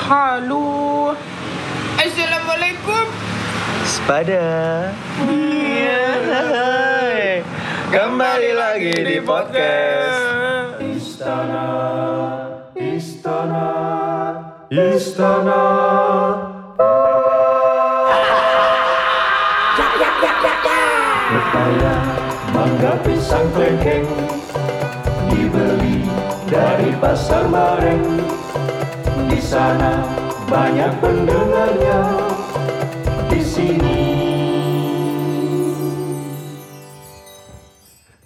Halo. Assalamualaikum. Sepada. Hai. Kembali lagi di podcast Istana. Pepaya, mangga, pisang, klengkeng dibeli dari pasar bareng. Di sana banyak pendengarnya. Di sini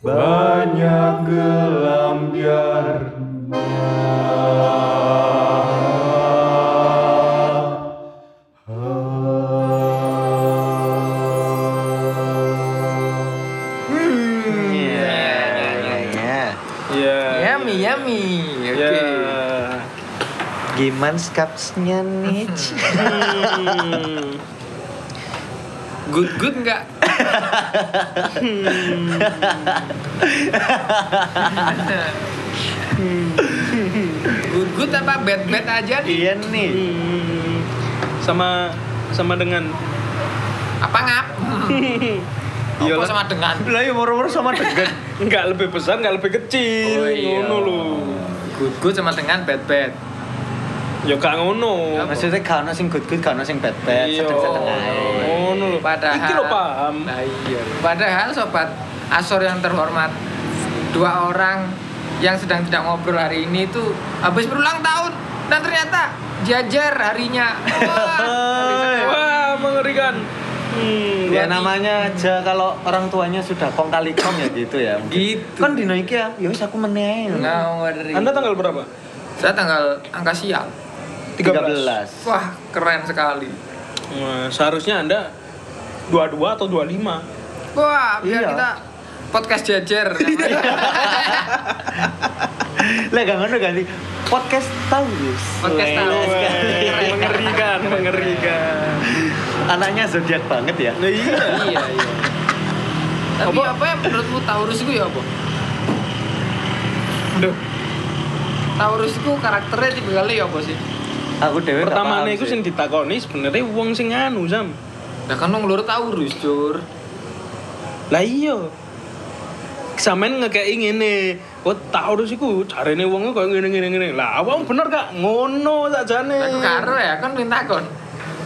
banyak gelam biar Iya. Iya. Yummy, yummy. Ya, Oke. Iya. Gimana skapsnya nih? Hmm. Good, good nggak? Hmm. good, good apa bad, bad aja nih? iya nih. Hmm. Sama sama dengan Apa ngap? Apa Iyalah. sama dengan? Lah ya moro-moro sama degen. nggak lebih besar, nggak lebih kecil. Oh, iya. Ngono lho. Good, good sama dengan bad, bad. Ya gak ngono. Apa? Maksudnya kan sing good-good, kan sing bad-bad, Iya. sedeng-sedeng ae. Ngono lho. Padahal. Iki lho paham. Nah, iya. Padahal sobat Asor yang terhormat, dua orang yang sedang tidak ngobrol hari ini itu habis berulang tahun dan ternyata jajar harinya. Wah. Wah, mengerikan. Hmm. Ya namanya aja kalau orang tuanya sudah kong kali kong ya gitu ya. mungkin. Gitu. Kan dino iki ya, ya wis aku meneh. Nah, ngeri. Anda tanggal berapa? Saya tanggal angka sial. 13. Wah, keren sekali. Wah, seharusnya Anda 22 atau 25. Wah, biar Iya. kita podcast jajar. Lah gak ngono ganti podcast Taurus. Podcast Taurus. Wah, Weh, mengerikan, mengerikan. Anaknya zodiak banget ya. Nah, iya. iya, iya. Tapi Apa? apa, yang menurutmu Taurus itu ya apa? Duh, Taurus itu karakternya tipe kali ya apa sih? Aku dewe gak pertama paham nih aku sih. sing ditakoni sebenarnya wong sing anu sam. Nah kan lo ngelur Taurus, Jur. Lah iya. Sampeyan ngekeki ngene. Kok Taurus iku jarene wong koyo ngene-ngene ngene. Lah awakmu bener gak ngono sakjane. Aku karo ya, kan minta kon.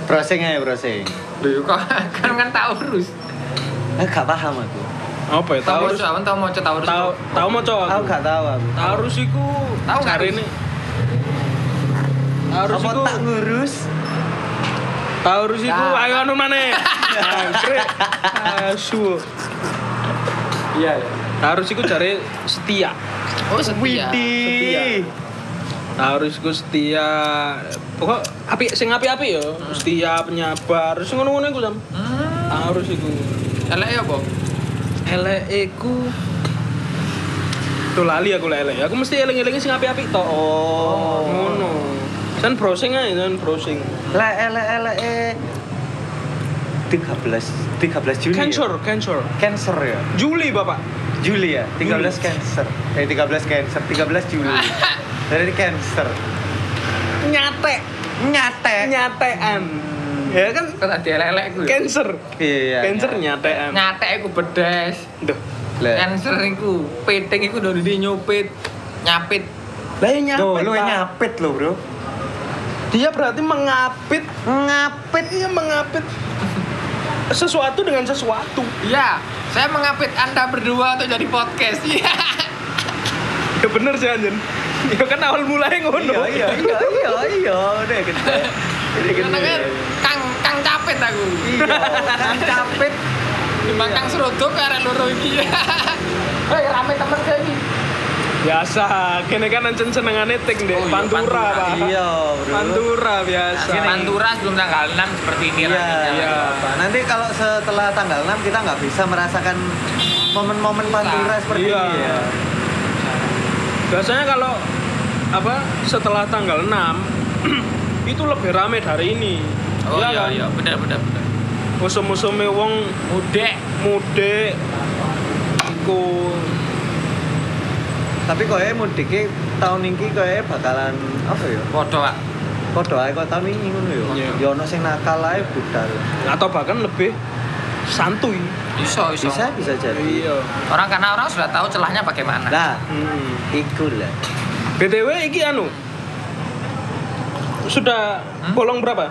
browsing aja browsing. Loh, ya kok kan kan Taurus. Eh gak paham aku. Apa ya Tahu Taurus? maca, awan tahu maca Taurus. Tau tau maca Aku aku. gak tahu aku. Taurus iku Tahu gak, jarene Taurus Apa iku tak ngurus? Taurus iku Nah. ayo anu maneh. Angkrek. Asu. Iya, iya. Taurus iku jare setia. Oh, Ya, setia. Setia. Widih. Taurus iku setia. Pokok apik sing apik-apik yo. Setia, penyabar. Terus ngono-ngono iku sam. Hmm. Taurus iku. Elek ya, Bob. Elek iku Tuh lali aku lek elek. Aku mesti eling-eling sing apik-apik tok. Oh. Ngono. Sen browsing aja, sen browsing. Lah ele ele eh 13 13 Juli. ya? Cancer, cancer. Cancer ya. Juli, Bapak. Juli ya, 13 Juli. Cancer. Eh 13 Cancer, 13 Juli. Dari Cancer. Nyatek, Nyate. nyatean. Eh. Ya kan Kok tadi elek-elekku ya? cancer. Iya. Cancer nyate. nyatean. Nyatek aku bedes. Kan Duh. Lah. Cancer iku, piting iku dari dia nyopit, nyapit. Lah ya nyapet. Tuh, lu Pak. nyapit lo, Bro. Dia berarti mengapit, Ngapit. iya mengapit sesuatu dengan sesuatu. Iya, saya mengapit Anda berdua untuk jadi podcast. Iya. Ya bener sih anjir. Ya kan awal mulai ngono. Iya, iya, iya, iya, iya, udah gede. Udah gede. Karena kan kang kang capit aku. Iya, kan capit. Timbang kang serodok karena loro iki. Hei, rame temen saya iki. Biasa, kene kan ancen senengane ting deh, Oh iya, pantura, pantura. Pak. Iya, Bro. Pantura biasa. Gini. Pantura sebelum tanggal 6 seperti ini Iya, rasanya. iya. Nanti kalau setelah tanggal 6 kita nggak bisa merasakan momen-momen pantura seperti Iya. ini ya. Biasanya kalau apa setelah tanggal 6 itu lebih rame dari ini. Oh kan? iya, iya, benar benar benar. Musuh-musuhnya wong Mudik. mudik iku Tapi koe mudiknya tahun ini koe bakalan apa ya? Podo, Pak. Podo ae kok tahun ini ngono yo. Iya. Yo ono sing nakal ae budal. atau bahkan lebih santuy iso iso Bisa bisa jadi. iya orang karena orang sudah tahu celahnya bagaimana Nah, hmm. iku lah. btw iki anu sudah Hmm? bolong berapa?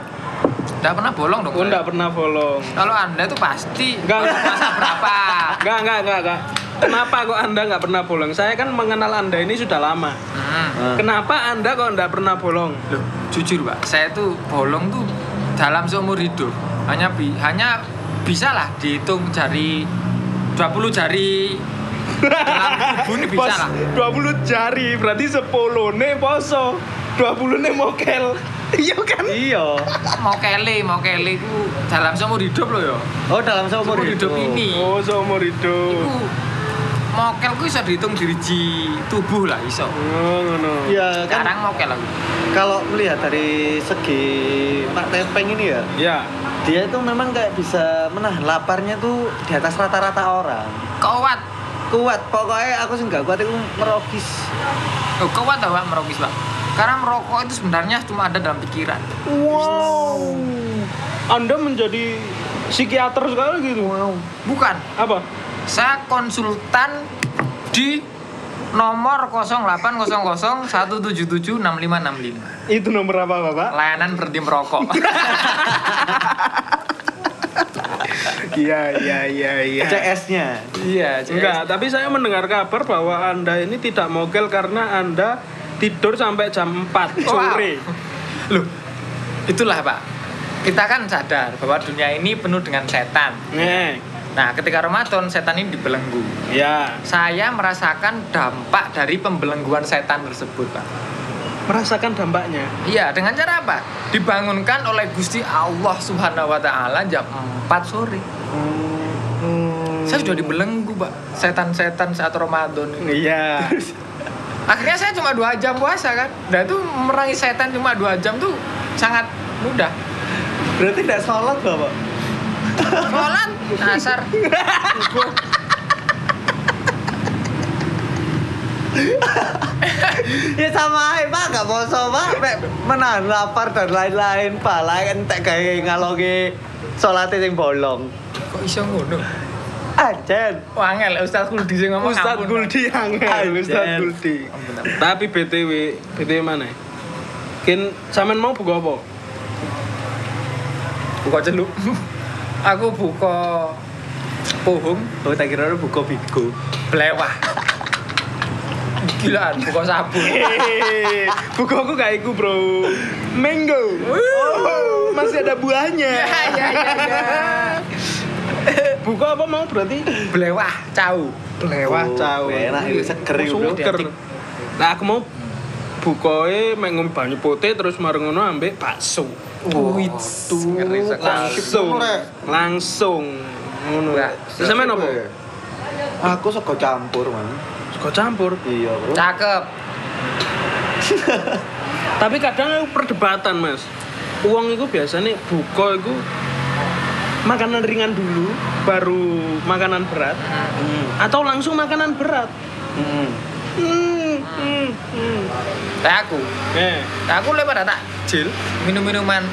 Nggak pernah bolong dong Oh, enggak pernah bolong. kalau anda itu pasti Nggak. kalau puasa berapa Enggak, enggak, enggak, enggak. Kenapa kok Anda enggak pernah bolong? Saya kan mengenal Anda ini sudah lama. Hmm. Nah. Kenapa Anda kok enggak pernah bolong? Loh, jujur pak, saya tuh bolong tuh dalam seumur hidup hanya bi hanya bisa lah dihitung jari 20 jari dalam tubuh ini bisa Pos, lah. 20 jari, berarti 10 ne poso. 20 ne mokel. Iya kan? Iya. Mau kele, mau kele ku dalam seumur hidup loh yo. Oh, dalam seumur Seumur hidup ini, Oh, seumur hidup. ku mokel ku bisa dihitung diriji tubuh lah iso. Oh, ngono. Iya, kan Sekarang mokel aku. kalau melihat dari segi Pak Tempeng ini ya, Ya. dia itu memang kayak bisa menahan laparnya tuh di atas rata-rata orang. Kowat, Kuat, pokoknya aku sih nggak kuat itu merokis. oh, kowat tau pak merokis pak. Karena merokok itu sebenarnya cuma ada dalam pikiran. Wow. Anda menjadi psikiater sekali gitu. Bukan, Apa? saya konsultan di nomor 08001776565 Itu nomor apa, Bapak? layanan berhenti merokok Iya, iya, iya, iya. CS-nya. iya Enggak, tapi saya mendengar kabar bahwa Anda ini tidak mogel karena Anda tidur sampai jam 4 sore. loh itulah pak kita kan sadar bahwa dunia ini penuh dengan setan Nih, nah ketika Ramadan setan ini dibelenggu ya. saya merasakan dampak dari pembelengguan setan tersebut pak Merasakan dampaknya. iya dengan cara apa dibangunkan oleh Gusti Allah Subhanahu wa taala jam 4 sore Oh, saya sudah dibelenggu pak setan-setan saat Ramadan ini. Iya. akhirnya saya cuma dua jam puasa kan dan itu memerangi setan cuma dua jam tuh sangat mudah Berarti tidak sholat, Bapak? sholat asar subuh. ya sama aja, Pak. Nggak poso, Pak. Mek Menahan lapar dan lain-lain, Pak. Lain entek kayak ngalongi sholatnya yang bolong. kok iso ngono Anjen. wangel Ustaz Kuldi sing ngomong Ustadz ampun. Guldi angel, Anjir. Ustadz Guldi. Ampun, ampun. Tapi BTW, BTW mana? Kin sampean mau buka apa? buka celuk aku buka pohong Oh, tak kira lu buka bigo. belewah gilaan buka sabun Hehehe, buku aku kayak iku, Bro. Mango. Oh, masih ada buahnya. ya ya ya ya Buka apa mau berarti? belewah cau Lewah Oh, cawe. enak, itu seger, itu, Bro. Seger. Nah, aku mau bukoe mek ngombe banyu putih terus mareng ngono ambek bakso. Oh, Wih, iya. ngeri sekali. Langsung. Rek. Langsung ngono. Bakso. Terus sampean apa? Aku suka campur, Man. Sego campur. Iya, Bro. cakep Tapi kadang aku perdebatan, Mas. Uang itu biasanya buka itu makanan ringan dulu, baru makanan berat, Hmm. atau langsung makanan berat. Hmm. Hmm, hmm, hmm. kayak aku Eh, aku lebih pada tak Jil. minum-minuman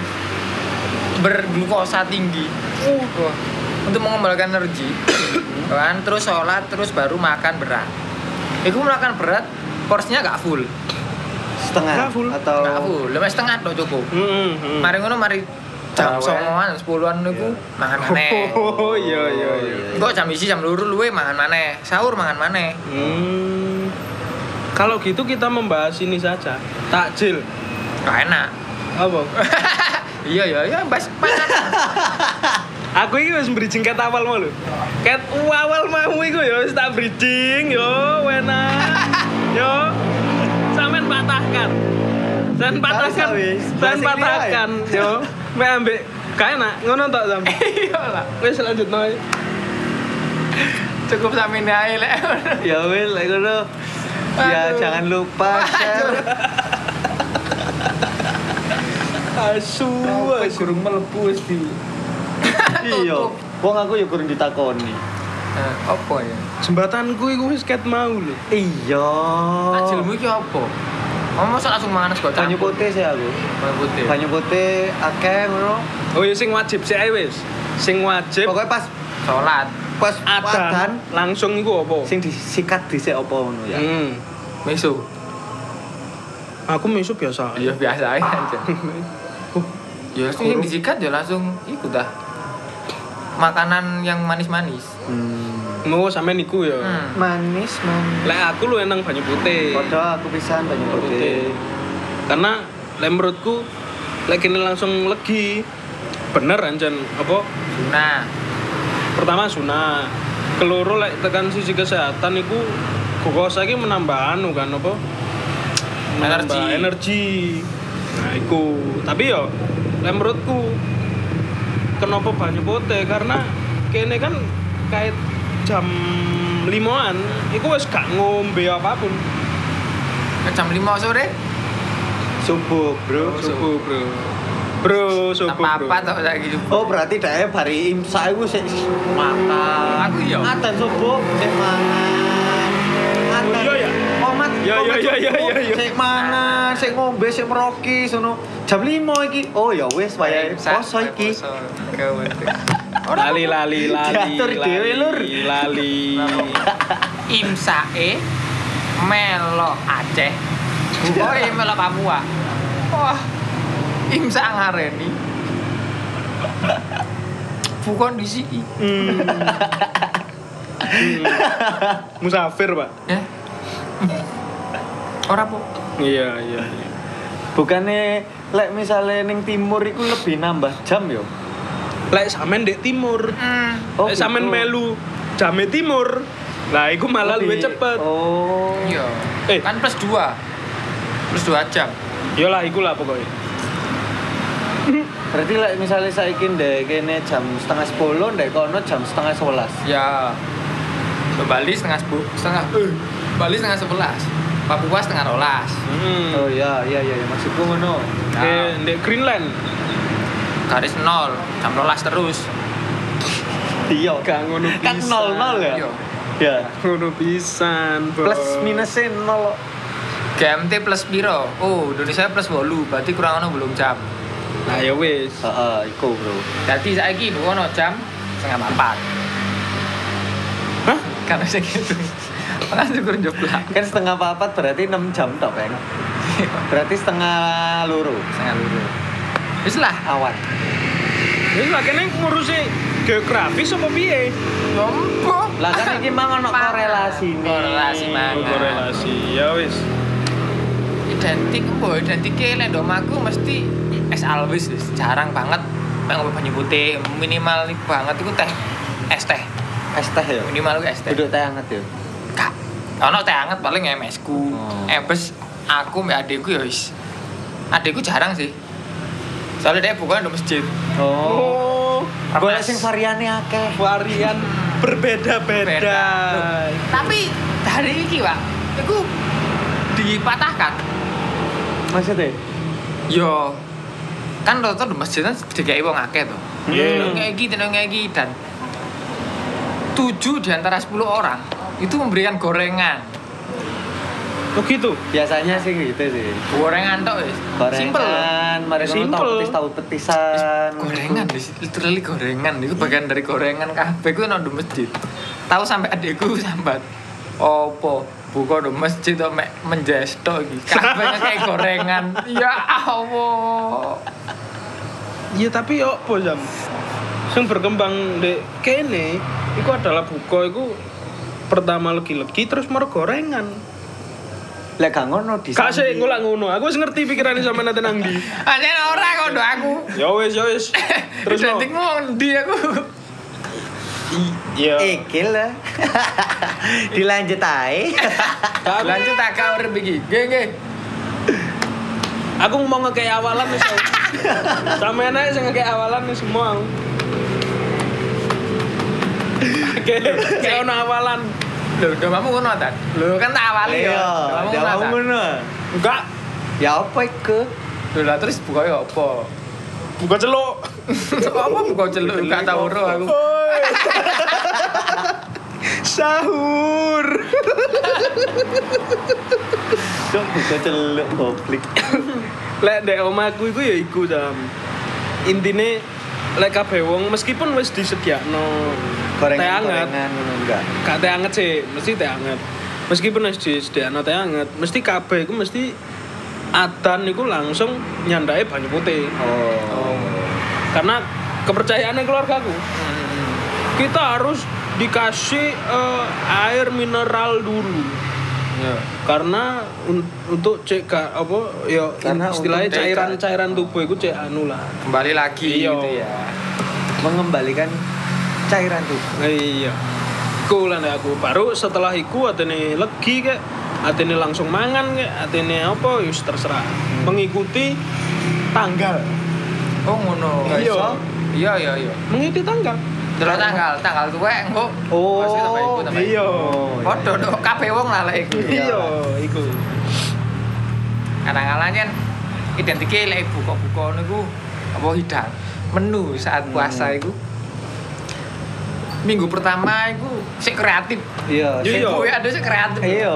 berglukosa tinggi Hmm, Wah, untuk mengembalikan energi kan terus sholat terus baru makan berat itu makan berat porsinya gak full Setengah Nggak full. atau gak full lemah setengah dong cukup Hmm, hmm. mari ngono mari jam Taraweh. songoan sepuluhan niku mangan maneh Oh, iya, iya, iya. Engko jam isi jam luru luwe mangan maneh sahur mangan maneh Hmm. Kalau gitu kita membahas ini saja. Takjil. gak enak Apa? iya iya iya bas panas Aku ini harus bridging cat awal mau lho. Cat awal mau iku ya wis tak bridging yo enak. Yo. Sampean patahkan. Sampean patahkan. Bisa, wis. Sampean Bahasa patahkan yo. Mek ambek kae nak ngono tok sampe. iya lah Wis lanjut noy. cukup sampe ini ae lek Ya wes, lek ngono. Ya Aduh. jangan lupa share. Asu. gurung melebu wis di Iya. Wong aku ya kurang ditakoni. Eh, apa ya Jembatanku iku wis cat mau lho. Iya. ya Tajilmu iki apa? Kamu masuk langsung mangan sego Oh. Banyu campur. putih sih aku. Iya. Banyu putih. Banyu putih akeh ngono. Oh iya sing wajib sih ae wis. Sing wajib Pokoknya pas Salat. pas wadan adan langsung iku apa? sing disikat dhisik apa ngono ya. Hmm. Mesu. Aku misu biasa. Iya biasa aja. ya langsung yang Kurung. disikat ya langsung ikut dah. Makanan yang manis-manis. Hmm. Mau sampean iku ya. Hmm. Manis manis. Lek aku lu enang banyu putih. Padha aku pisan banyu putih. putih. Karena lek menurutku lek kene langsung legi. Bener anjen apa? Nah, Pertama sunah. Keloro lek tekan sisi kesehatan iku glukosa iki menambah anu kan apa? Menambah Energi. energi. Nah, iku. Tapi yo lek menurutku kenapa banyu putih karena kene kan kait jam limoan iku wis gak ngombe apapun jam 5 sore Subuh, Bro. subuh bro bro subuh apa bro apa tau lagi Oh, berarti dae bari imsak iku sik makan. Aku Ya. iya. Adzan subuh sik mangan. Adzan- Oh, iya ya? Komat. Iya, komat iya, iya, oh, subuh, iya, iya. Sik mangan, sik ngombe, sik meroki sono. Jam 5 iki. Oh ya wis wayahe poso iki. lali lali lali Diatur dhewe, Lur. lali imsae melo Aceh. Oh, iya melo Papua. Wah. Imsa ngareni. Bukan di sini. Hmm. Hmm. musafir pak Ya. Ora po. iya iya iya. Bukannya lek misalnya ning timur iku lebih nambah jam yo. lek sampean dek timur Hmm. Oh, lek sampean gitu. melu jame timur lah iku malah luwih Lebih- cepet Oh. Iya. Eh. Kan plus 2. Plus 2 jam. iyalah iku Iya lah pokoknya Berarti lek misalnya saiki ndek kene jam setengah 10 ndek kono jam setengah 11. Ya. Bali setengah sepuluh, setengah. Eh. Bali setengah sebelas. Papua setengah rolas. hmm. Oh iya, iya, iya, iya. maksudku ngono. Dek, dek Greenland Ya. Garis nol, jam rolas terus. Iya. gak ngono Kan pisan. nol nol ya. Iya. Ya. ngono pisan Bos. Plus minusnya nol. GMT plus piro? Oh, Indonesia plus bolu, berarti kurang ono belum jam. nah ya wis Heeh, iku, Bro. Jadi saiki ini ono jam setengah empat. Hah? Karena saya gitu. Makanya syukur joplak. Kan setengah papat berarti 6 jam tok, Peng. Berarti Iya. setengah luru Setengah luru. Wis lah, awan. Wis lah kene ngurusi geografis apa piye? lompo. Lah kan iki mang ono Pangan. korelasine. Korelasi mangan. Oh, Korelasi. Ya wis. Identik embo, identike lek domaku mesti es always wis. jarang banget pengen banyu putih minimal iku banget iku teh es teh Es teh ya. minimal iku es teh Duduk teh anget ya. Kak, ono teh anget paling ya, MS ku. Oh. Ebes aku mbak adekku ya wis. Adekku jarang sih. Soalnya dia bukan di masjid. Oh. Golek Mas. sing variane akeh. varian berbeda-beda. Beda. Tapi dari iki, Pak, iku dipatahkan. Maksudnya? Yo kan rata di masjid kan dikai wong akeh to. Iya. Tenang iki, tenang iki dan tujuh di antara 10 orang itu memberikan gorengan. Oh gitu. Biasanya sih gitu sih. Gorengan tok wis. Simple loh. Gorengan, mari ngono Simple. tahu petis tahu petisan. gorengan wis. literally gorengan itu bagian dari gorengan kabeh ku nang di masjid tahu sampai adikku sambat opo buka di masjid kok mek menjesto iki kabeh kayak gorengan ya Allah Iya tapi yo apa jam? Sing berkembang di kene iku adalah buka iku pertama legi-legi terus mau gorengan. Lek gak ngono di. Gak sih ngulak ngono. Aku wis ngerti pikirane sampean nanti nang ndi. ada ora kok do aku Ya wis, ya wis. terus Terus no. nanti ngondi aku Iya. Ikil lah. Dilanjut ae. Gak, aku- lanjut tak urip iki nggih nggih Aku mau ngekei awalan nih Sob. Sampean aja sing ngekei awalan nih semua. aku. Oke, saya ono awalan. lho domamu ngono ta lho kan tak awali Iya, ya domamu jawab ngono ta? ngono. Enggak, Ya apa iku? lho lah terus buka ya apa buka celuk. apa buka celuk gak tau ora aku Oi. sahur Cok bisa celuk publik. lek ndek omahku iku ya iku sam intine lek kabeh wong meskipun wis disediakno teh anget Gorengan-gorengan ngono enggak. gak teh anget sih mesti teh anget meskipun wis disediakno teh anget mesti kabeh iku mesti adan iku langsung nyandake banyu putih Oh. karena kepercayaannya keluargaku kita harus dikasih eh, air mineral dulu Ya, karena un- untuk cek ka- apa ya Karena istilahnya untuk cek- cairan-cairan tubuh itu cek anu lah kembali lagi Iya. gitu ya Mengembalikan cairan tubuh. iya iku lah nek aku baru setelah iku atene legi kek atene langsung mangan kek atene apa yus terserah mengikuti tanggal oh ngono Iya. iya iya iya mengikuti tanggal Delok tanggal tanggal tuwek engko Iya. Oh, Pasti tambah iku, tambah iku. iya Padha dok kabeh wong lah lek iku. iya iku Kadang-kadang kan identike lek buka-buka niku apa hidat menu Hmm. saat puasa iku. Minggu pertama iku sik kreatif. Iya. Iya, sing- iya. Kowe ada sik kreatif. Iya,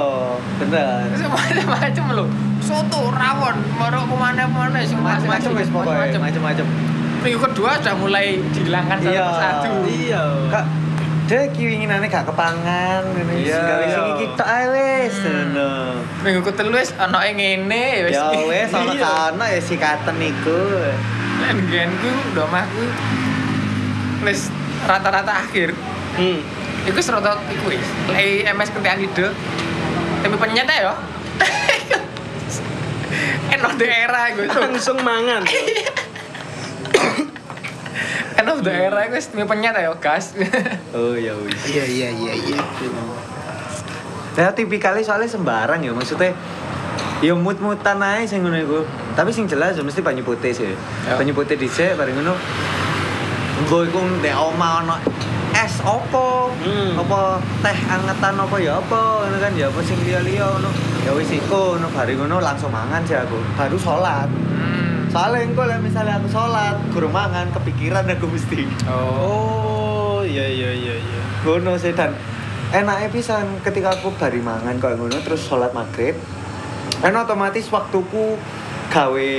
bener. Macam-macam lho. Soto, rawon, marok kemana-mana sing Macam-macam wis pokoknya, macam-macam. macam-macam. Minggu kedua sudah mulai dihilangkan satu Iya. persatu. iya Kak, dia kiwinginane gak kepangan ngene Iya. yeah. gawe sing iki tok ae wis. Hmm. Ngono. Minggu ketelu wis ana yang ngene wis. Ya wis ana Iya. kana ya sikatan iku. Lan genku domahku wis rata-rata akhir. hmm. Iku wis rata iku wis. Lek MS kentekan ide. Tapi penyet ae yo. End of the era iku. langsung mangan End of the era iku wis tempe penyet ae yo, guys. Oh ya wis. Iya iya iya iya. Lah Ya, tipikalnya soalnya sembarang ya maksudnya Ya mut-mutan aja sing ngono iku. Tapi sing jelas ya mesti banyu putih sih. Ya. Banyu putih dhisik bareng ngono. Engko iku ndek oma ono es opo? Hmm. Apa teh angetan apa ya apa ngono kan ya apa sing liya-liya ngono. Ya wis iku ngono bareng ngono langsung mangan sih aku. Baru sholat Hmm. Soalnya engko lah misalnya aku sholat guru mangan kepikiran aku mesti. oh Oh. iya iya iya iya Ngono sih dan enaknya pisan ketika aku bari mangan kok ngono terus sholat maghrib. Kan otomatis waktuku gawe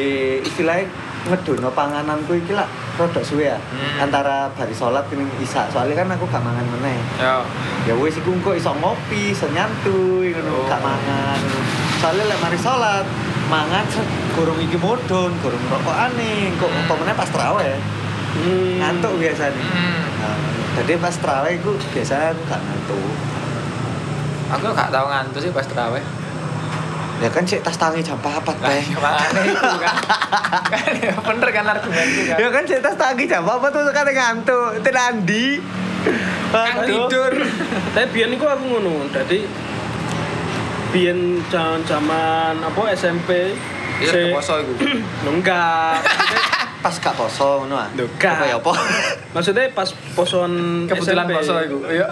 istilahnya ngedono pangananku iki lah rodok suwe ya Hmm. antara bari sholat ke isa soalnya kan aku gak mangan meneh Yo. ya wis iku engko iso ngopi iso nyantui ngono Oh. gak mangan soalnya lek mari sholat mangan set, gurung iki mudhun gurung rokokane kok Hmm. umpamane pas traweh Hmm. ngantuk biasanya Hmm. Nah, jadi pas terawih aku biasanya aku gak ngantuk Aku gak tau ngantuk sih pas terawih. ya kan cek tas tangi jam 4 Lah, teh makanya itu kan. Kan ya, bener kan argumenku kan. ya kan cek tas tangi jam 4 tuh kan ngantuk itu nandi Kan tidur. tapi biyen iku aku ngono dadi biyen jaman-jaman apa SMP Iya, sik- poso iku. Lho, enggak pas gak poso ngono ah Lho, gak. apa ya apa maksudnya pas poson Kebetulan SMP. poso iku. Iya.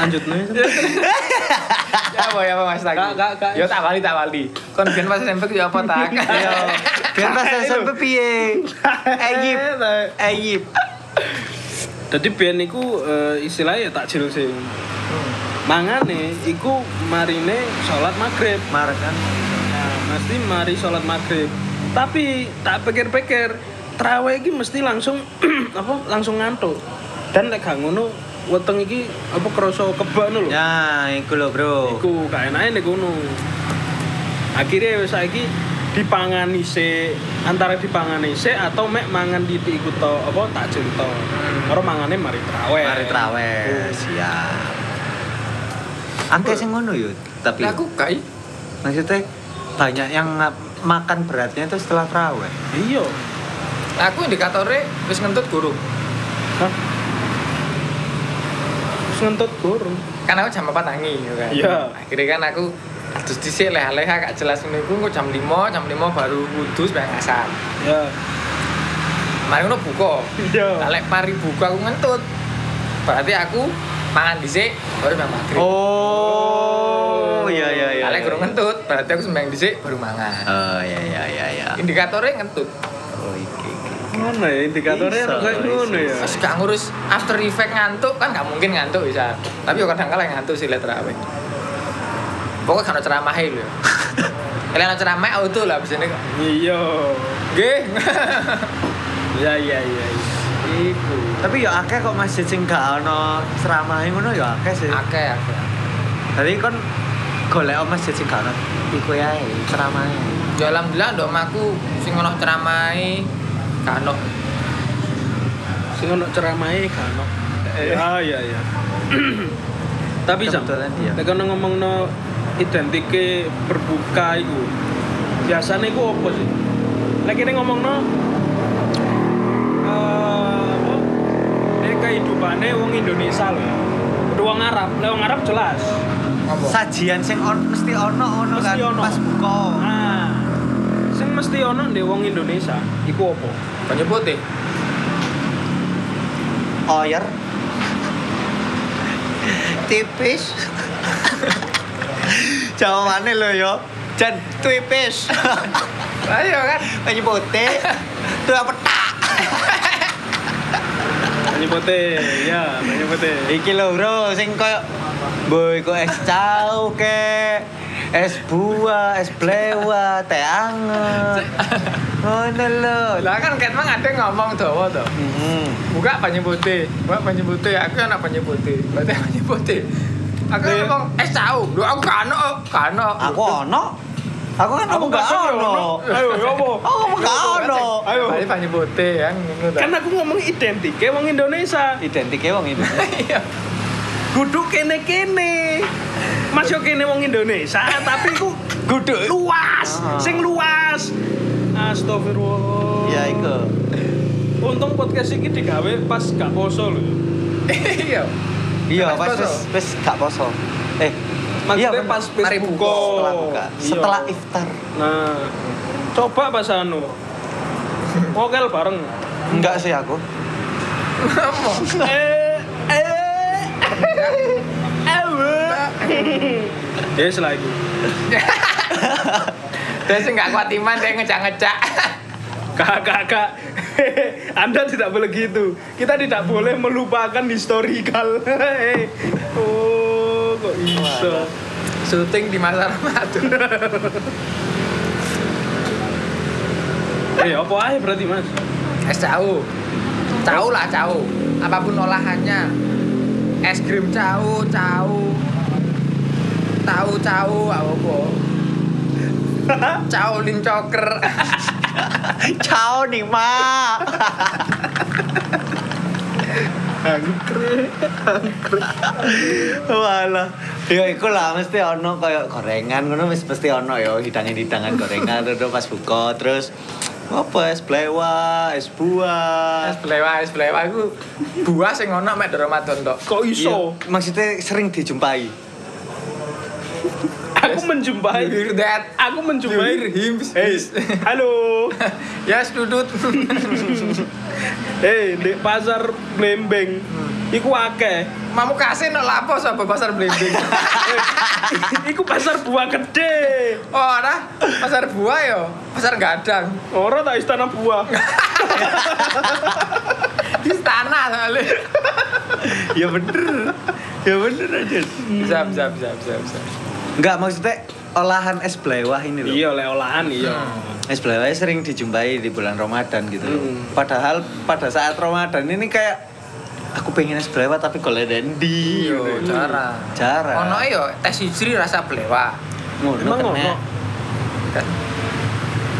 lanjut nih Ya apa ya apa Mas Tagi? Kak, kak, kak. Yo tak wali tak wali. Kon biyen pas SMP ku ya apa tak? ya biar pas SMP piye Eyip Eyip jadi biyen iku eh, istilahnya tak jil sih Hmm. mangane iku marine sholat maghrib Maret kan Nah, mesti mari sholat maghrib. Tapi tak pikir-pikir, terawih ini mesti langsung apa langsung ngantuk. Dan lek gak ngono, weteng iki apa kerasa kebak ngono lho. ya iku lho bro Iku gak enake nek ngono. Akhirnya wis saiki dipangani sik, antara dipangani sik atau mek mangan titik iku to apa takjil to. Karo mangane mari terawih. Hmm. mari terawih siap angke sing ngono yo tapi Lah aku kai. maksudnya banyak yang nga- makan beratnya itu setelah terawih Iya. Aku indikatornya wis ngentut guru. Hah? Terus Ngentut gorong. Kan aku jam 4 tangi gitu kan. Iya. Akhirnya kan aku terus dhisik leh-leh gak jelas ngene iku engko jam 5, jam 5 baru wudhu sebang asar. Ya. Mari ngono buka. Iya. Lah lek pari buka aku ngentut. Berarti aku mangan dhisik baru bang maghrib. Oh, iya iya iya. Lah lek guru ngentut, berarti aku sembang dhisik baru mangan. Ah. Oh, iya iya iya iya. Indikatornya ngentut. Oh, iki iki. ngono ya indikatornya Bisa, kok kayak bisa, ngono ya. Terus gak ngurus after effect ngantuk kan gak mungkin ngantuk bisa. Tapi yo kadang kala ngantuk sih lihat rawe. Pokoknya kan ceramah lho. Kalian ada ceramah auto lah abis ini kok. Iya. Nggih. Ya ya ya. Iku. Tapi ya akeh kok masjid sing gak ono ceramahe ngono ya akeh sih. Akeh akeh. Tadi kon golek o masjid sing gak ono iku ya ceramahe. Ya alhamdulillah ndok maku sing ono ceramahe gak ono. Sing ono ceramahe kan. Ah iya iya. Tapi sam, Kebetulan iya. nek kono ngomongno identike berbuka iku. Biasane iku opo sih? Nek kene ngomongno eh apa? Nek kehidupane wong Indonesia lho. Kudu Wong Arab, lek wong Arab jelas. Ngopo? Sajian sing on mesti ono ono kan Mesti ono. pas buka. Nah, sing mesti ono ndek wong Indonesia iku opo? Banyu putih. Oyer. Tipis. Jawabane lho yo. Jan tipis. Ayo kan. Banyu putih. Tuh petak. Banyu putih, ya, banyu putih. Iki lho bro sing koyo boy kok es cao ke es buah, es blewa, teh anget. Ngono lho. Lah kan ket mang ada ngomong dawa to. Hmm. Buka banyu putih. Buka banyu putih. Aku anak banyu putih. Berarti banyu putih. Aku Iya. ngomong es tahu. Lu aku gak ono, gak ono. Aku ono. Aku kan Aku aku gak bakso ya, ono. ono. Ayo, ya apa? Aku ngomong gak ono. Ayo. Ayo. Berarti banyu putih ya ngono ta. Kan aku ngomong identik kayak wong Indonesia. Identike wong ini. Iya. Kudu kene-kene. Mas yo kene wong Indonesia, tapi ku Guduk. luas, Ah. sing luas. Astagfirullah. Ya iku. Untung podcast iki digawe pas gak poso lho. Iya. Iya, Pas pas poso. wis wis gak poso. Eh, Maksudnya iya, bener. pas pas Mari buka. buka. setelah buka, setelah Iya. iftar. Nah, coba pas anu. Ngokel bareng. Enggak sih aku. Ngomong. Eh, eh. Ya yes, lagi. Terus nggak kuat iman dia ngecak-ngecak. Kakak-kakak, Anda tidak boleh gitu. Kita tidak boleh melupakan historical. Eh, oh, kok iso? Syuting di masa Ramadan. Eh, apa aja berarti mas? Es tahu. Tahu lah tahu. Apapun olahannya. Es krim tahu, tahu. Tahu tahu apa? Tahu lincoker. Ciao nih, Ma. Angkre. Walah. Ya iku lah mesti ono koyo gorengan ngono wis mesti ono ya hidangan-hidangan gorengan terus pas buka terus apa es blewa, es Es buah. belewa, es belewa itu buah sing ono mek di Ramadan tok. Kok iso? Iya, maksudnya sering dijumpai. Iya. Aku menjumpai. You hear that? Aku menjumpai. You hear him? Hey, halo. Yes, dudut. Hei, di pasar Blembeng. Iku akeh. Mamu kasih no lapo sapa pasar blimbing. Iku pasar buah gede. Oh, ada pasar buah yo, pasar gadang. Ora tak istana buah. Istana soalnya. ya bener. Ya bener aja. Zap, zap, zap, zap, zap. Enggak maksudnya olahan es blewah ini loh. Iya, oleh olahan iya. Es blewah Eh, sering dijumpai di bulan Ramadan gitu loh. Hmm. Padahal pada saat Ramadan ini kayak aku pengen es blewah tapi golek dendi. Iya, gitu. jarang. Jarang. Ono e? yo tes hijri rasa belewa. Ngono Emang kena. ngono?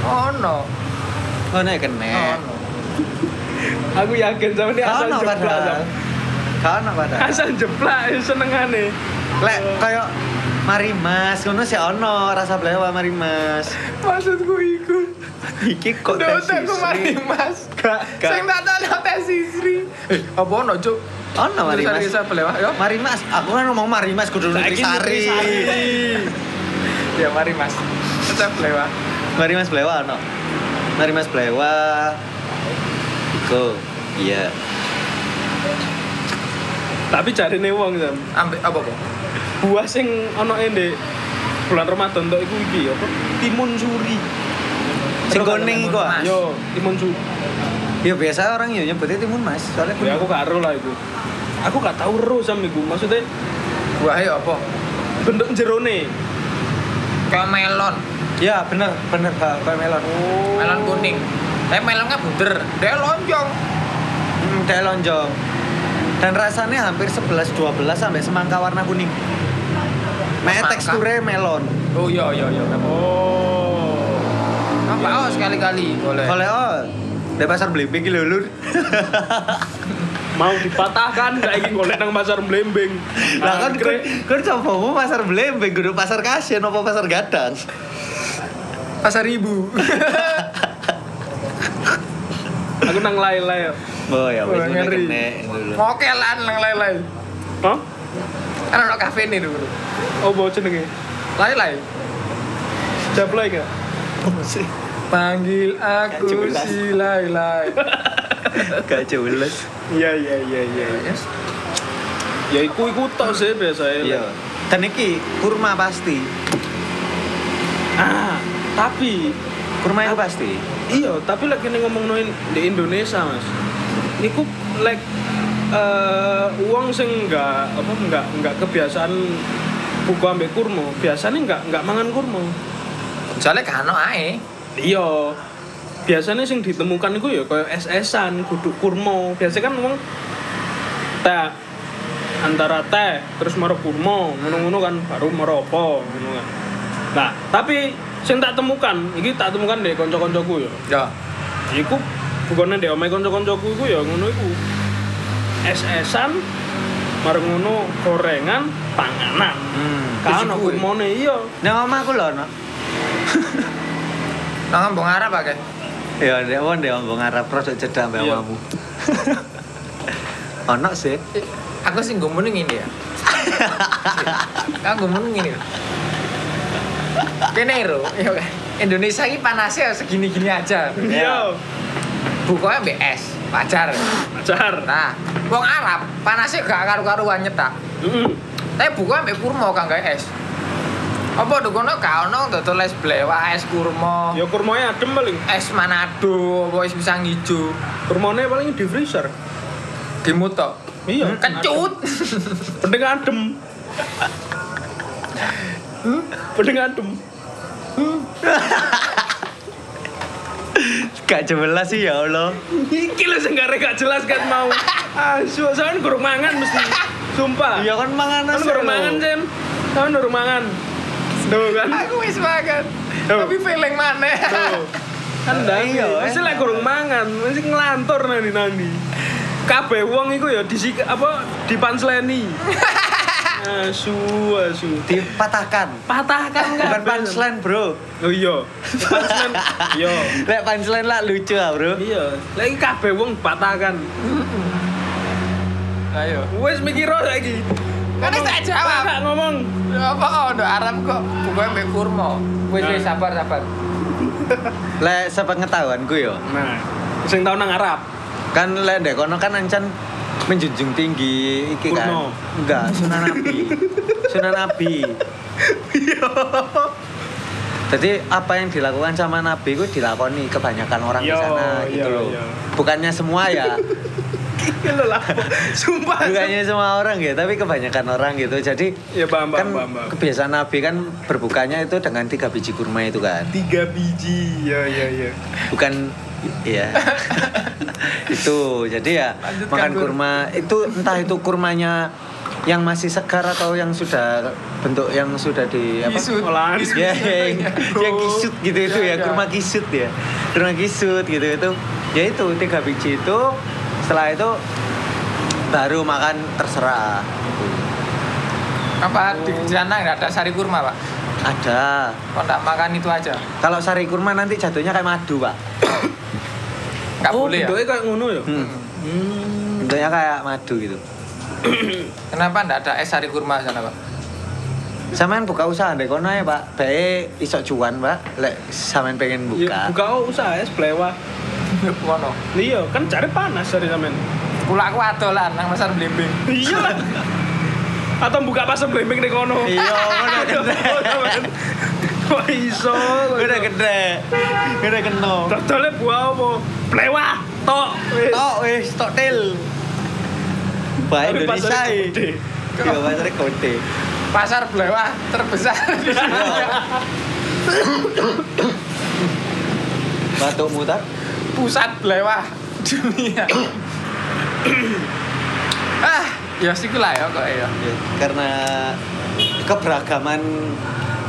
Ono. Ngono ya kena. Ono. Aku yakin sama ini Iya, asal Kono jeblak. padahal. Sam. Kono padahal. Asal jeblak senengane. Lek koyo Mari Mas, ngono sih ono rasa blewah Mari Mas. Maksudku iku. Iki kok Ndok tes tak isi? mari Mas. Gak, gak. Sing tak tak tes hijri. Eh, apa ono, Cuk? Ono Mari Terus Mas. Risa belewa yo. Mari Mas, aku kan ngomong Mari Mas kudu Saiki nutrisari. Nutrisari. Ya mari Mas. Tetap belewa. Mari Mas Blewa ono. Mari Mas Blewa. Iku. Iya. Tapi jarine wong Sam. Ambek apa, Pak? Buah sing ono e, ndek bulan Ramadan tok iku iki apa? Timun suri. Sing kuning iku. ah? Mas. Yo, timun suri. Ya biasa orang ya nyebutnya timun mas, soalnya Ya aku gak ero lah itu. Aku gak tahu ero sam iku. Maksudnya Buah ya apa? bentuk jerone. Kayak melon, Ya bener, bener Pak, Pak melon. melon kuning. Tapi melonnya bunder, dia lonjong. Hmm, teh lonjong. Dan rasanya hampir 11 12 sampai semangka warna kuning. Mek Semangka. teksturnya melon. Oh iya iya iya. Oh. Apa oh sekali-kali boleh. Oleh oh, di pasar Blimbing lho lur. Mau dipatahkan saiki golek nang pasar Blembing. Lah kan kan kan cobamu pasar Blimbing, kudu pasar Kasian apa pasar Gadang? Pasar ibu. aku nang lay-lay. yo. Oh ya wis Wah, mulai ngeri. kene lho. Mokelan lang lelai. Hah? Kan ono kafe nih dulu. Oh, bawa jenenge. Lelai. Jablay gak? Panggil Kacau aku belas. si Lailai. Gak jelas. Iya, iya, iya, iya. Yes. Ya iku iku tok sih biasanya. Iya. Dan iki kurma pasti. Ah, tapi Kurma itu pasti. Iya, tapi lagi nih ngomong di Indonesia mas, niku like eh uang sing nggak apa nggak nggak kebiasaan buku ambek kurma, biasanya nggak nggak mangan kurma. Soalnya kan ono ae. Iya, biasanya sing ditemukan itu ya kayak es-esan, guduk kurma. Biasanya kan uang teh antara teh terus maro kurma, ngono-ngono kan baru maro apa, ngono kan. Nah, tapi sing tak temukan, iki tak temukan deh konco-koncoku ya. Ya. Iku bukannya deh omai konco-koncoku iku ya ngono iku. Es-esan mari ngono gorengan panganan. Hmm. Kan Terus aku gue. mau iya. Nah, omah aku lho no. Nang ngomong Arab akeh. Ya ndek wong ndek omong Arab rodok cedak mbak Iya. omamu. Ono sih. Aku sih ngomong ngene ya. Aku ngomong ngene. Kene ro, ya kan? Indonesia ini panasnya segini-gini aja. Iya. Bukanya BS, wajar. Jar. Nah, wong Arab panasnya gak karu-karuan nyetak. Heeh. Tapi buka ambek kurma kang gawe es. Apa tuh kono gak ono dodol es blewa, es kurma, Ya kurmanya adem paling. es Manado, apa es pisang ijo, Kurmanya paling di freezer. dimutok. Hmm, Iya. Kecut. adem. Penting adem. Penting adem. Gak jelas sih ya Allah. Iki lho sing gak gak jelas kan mau. Asu, soalnya kurang mangan mesti. Sumpah. Iya kan manganan Kan sih. kurang lho. mangan, Sam. Kan kurang mangan. Tuh kan. Aku wis makan. Tuh. Tapi feeling maneh. Tuh. kan Lah, dadi iya, mesti lek enak. kurang mangan mesti ngelantur nani nani kabeh wong iku ya disik apa dipansleni asu asu Dipatahkan. patahkan Bukan kabeh. punchline, Bro. oh iya punchline iya Lek punchline lah lucu ah, Bro. iya lagi kabeh wong patahkan Ayo. wes mikir lagi Kan wis tak jawab. gak ngomong Apa Oh, ono Arab kok buka ambek kurma? Wis wis Nah. sabar sabar. Lek sepengetahuanku yo. nah sing tau nang Arab Kan lek ndek kono kan ancan menjunjung tinggi iki kan. Kurma. Enggak, sunan nabi. sunan nabi. Iya. Jadi apa yang dilakukan sama Nabi itu dilakoni kebanyakan orang di Yo, sana gitu yo, loh. yo. Bukannya semua ya, Iki lho lah sumpah bukannya semua orang ya, tapi kebanyakan orang gitu. Jadi ya paham kan paham paham paham. kebiasaan Nabi kan berbukanya itu dengan tiga biji kurma itu kan. tiga biji ya ya ya bukan ya itu jadi ya Lanjutkan, makan Gur. kurma itu entah itu kurmanya yang masih segar atau yang sudah bentuk yang sudah di apa Kisut. Olahan. Kisut. Iya, ya yang, yang kisut gitu itu Ya, ya, ya. kurma kisut ya kurma kisut gitu itu ya itu tiga biji itu setelah itu baru makan terserah Oh. Apa di sana nggak ada sari kurma, Pak? ada Kok tak makan itu aja? kalau sari kurma nanti jatuhnya kayak madu pak Nggak oh boleh ya? bentuknya kayak ngono ya Hmm. Hmm. bentuknya kayak madu gitu Kenapa nggak ada es sari kurma di sana, Pak? Sampean buka usaha ndek kono ya, Pak. Bae iso cuan, Pak. Lek sampean pengen Ya, buka. buka oh, usaha es plewa. Kono. Iya, kan cari panas dari sampean. Kula aku adolan nang pasar blimbing. Iya lah. Atau buka pasar blimbing di kono. Iya, ngono kan. gede. Wah iso. Gede gede. Gede keno. Dodolnya buah apa? Plewa. Tok. wis. Tok wis tok til. Bahasa Tapi Indonesia. pasarnya eh. gede. Iya, pasarnya gede. Iya. pasar belewah terbesar di dunia. Batuk mutar. pusat belewah dunia ah ya sih lah ya kok ya Ya, karena keberagaman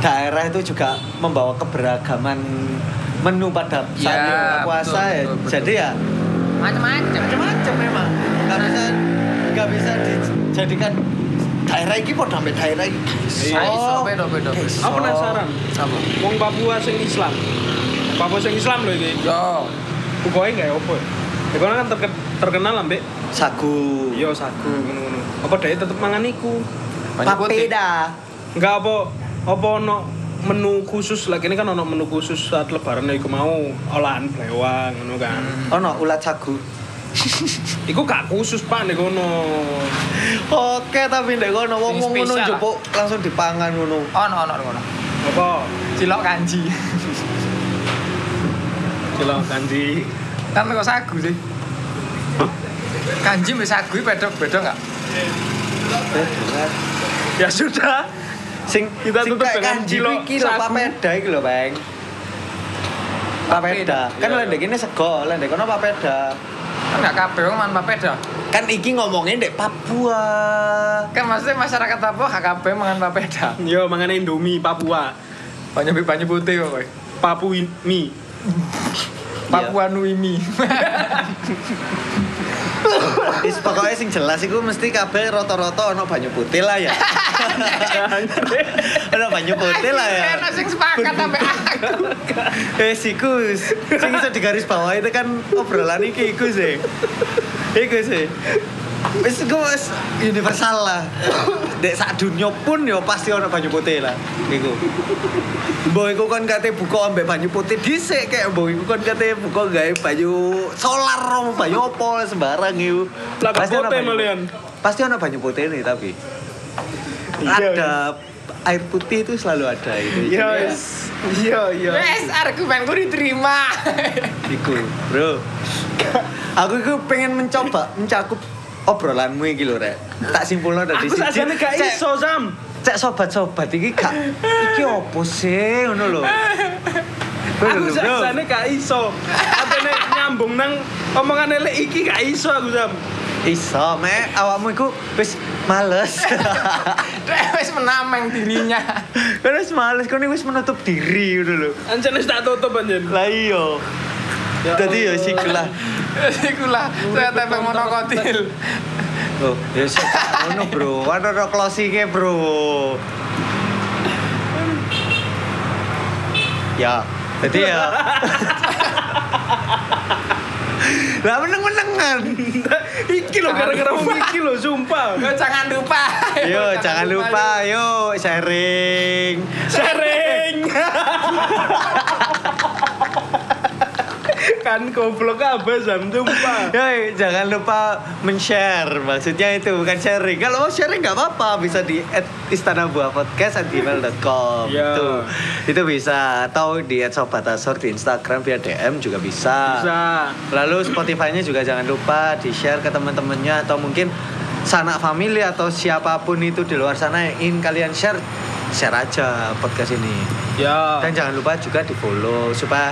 daerah itu juga membawa keberagaman menu pada saat Ya, buka puasa betul, ya. betul, betul. Jadi ya macam-macam macam-macam memang. Nggak bisa nggak bisa dijadikan daerah ini kok sampai daerah ini. Iya, iso, beda, beda, beda. Iso. Aku penasaran. apa Wong Papua sing Islam. Papua sing Islam lho iki. yo Bukoe nggak ya opo. ya? Ya kono kan terke- terkenal ambek Sagu. iya sagu ngono-ngono. Apa dhek tetep mangan iku? Papeda. Enggak apa apa ono menu khusus lah kene kan ono menu khusus saat lebaran ya iku mau olahan blewang ngono kan. Oh no, ulat sagu. Iku gak khusus Pak nek kono. Oke, tapi ndek kono wong wong ngono spesial. jupuk langsung dipangan ngono. on on on on Apa? cilok kanji Cilok kanji. kan kok sagu sih kanji mbak sagu beda beda nggak Ya sudah. Sing Kita sing tutup kayak dengan kanji cilok iki lho sagu. papeda iki lho, Bang. Papeda. Papeda, Kan iya, lendek ini sego, lendek kono papeda. kan nggak kabeh wong manpa beda Kan iki ngomongin ndek Papua. kan maksudnya masyarakat Papua nggak kabeh mangan papeda Yo mangane Indomie Papua. banyak banyak putih kok Iya. kowe. Papui mie. Papua Nuimi Wis pokoknya sing jelas iku mesti kabeh rata-rata ono banyu putih lah ya. Ono banyu putih lah ya. Enak sing sepakat sampai aku. Eh sikus, sing iso digaris bawah itu kan obrolan iki iku sih. Iku sih. Wis iku wis universal lah. Dek sak dunia pun ya pasti ono banyu putih lah iku. Mbok iku kan kate buka ambek banyu putih dhisik kayak mbok iku kan kate buka gawe banyu solar om banyu opo sembarang iku. Lah, putih ono banyu- malian. Pasti ono banyu putih nih tapi. Iya, Ada air putih itu selalu ada itu. Iya, Jadi, wis. Iya, iya. Wes argumenku diterima. Iku, bro. Aku iku pengen mencoba mencakup obrolanmu iki lho, Rek. Tak simpulno dari Aku sajane gak Cek- iso, Sam. Cek sobat-sobat iki gak iki opo sih ngono lho. Kowe Aku lho, bro. sajane gak iso. Atene nyambung nang omongan elek iki gak iso aku, Sam. Iso, me awakmu iku wis males. Dek, Wes menameng dirinya. Kowe wis males, kowe wis menutup diri ngono lho. Anjen wis tak tutup anjen. Lah iya. Dadi ya sikulah. Ikulah saya tepeng monokotil. Loh, ya sik ngono, bro. Kan ono closinge, bro. Ya, jadi ya. Lah meneng-menengan. iki lho gara-gara wong iki lho, sumpah. Yo jangan lupa. Yo, jangan lupa, yo sharing. Sharing. kan goblok apa Sam, sumpah. Yoi, jangan lupa men-share. Maksudnya itu bukan sharing. Kalau mau sharing nggak apa-apa, bisa di @istanabuahpodcast@gmail.com. Iya. Itu, itu bisa. Atau di @sobatasor di Instagram via DM juga bisa. Bisa. Lalu Spotify-nya juga jangan lupa di-share ke teman-temannya atau mungkin sanak family atau siapapun itu di luar sana yang ingin kalian share, share aja podcast ini. Ya. Dan jangan lupa juga di-follow supaya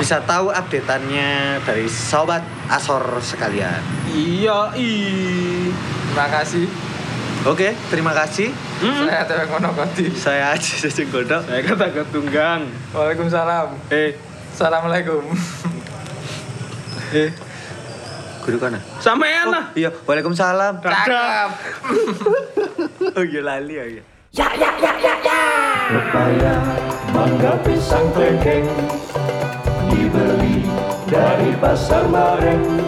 bisa tahu updateannya dari sobat Asor sekalian. Iya, i. Terima kasih. Oke, terima kasih. Mm-mm. Saya tepeng monokotil. Saya Aji Sejeng Godok. Saya kata ketunggang. Waalaikumsalam. Eh, Assalamualaikum. eh. Guru kana. Sampean lah. iya, Waalaikumsalam. Dadah. Cakep. Oh iya lali oh iya. mangga pisang klengkeng dibeli dari pasar bareng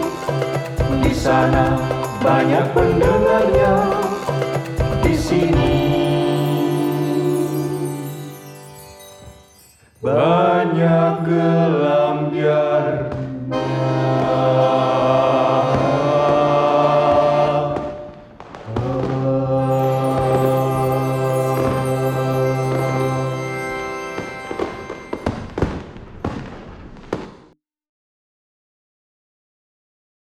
di sana banyak pendengarnya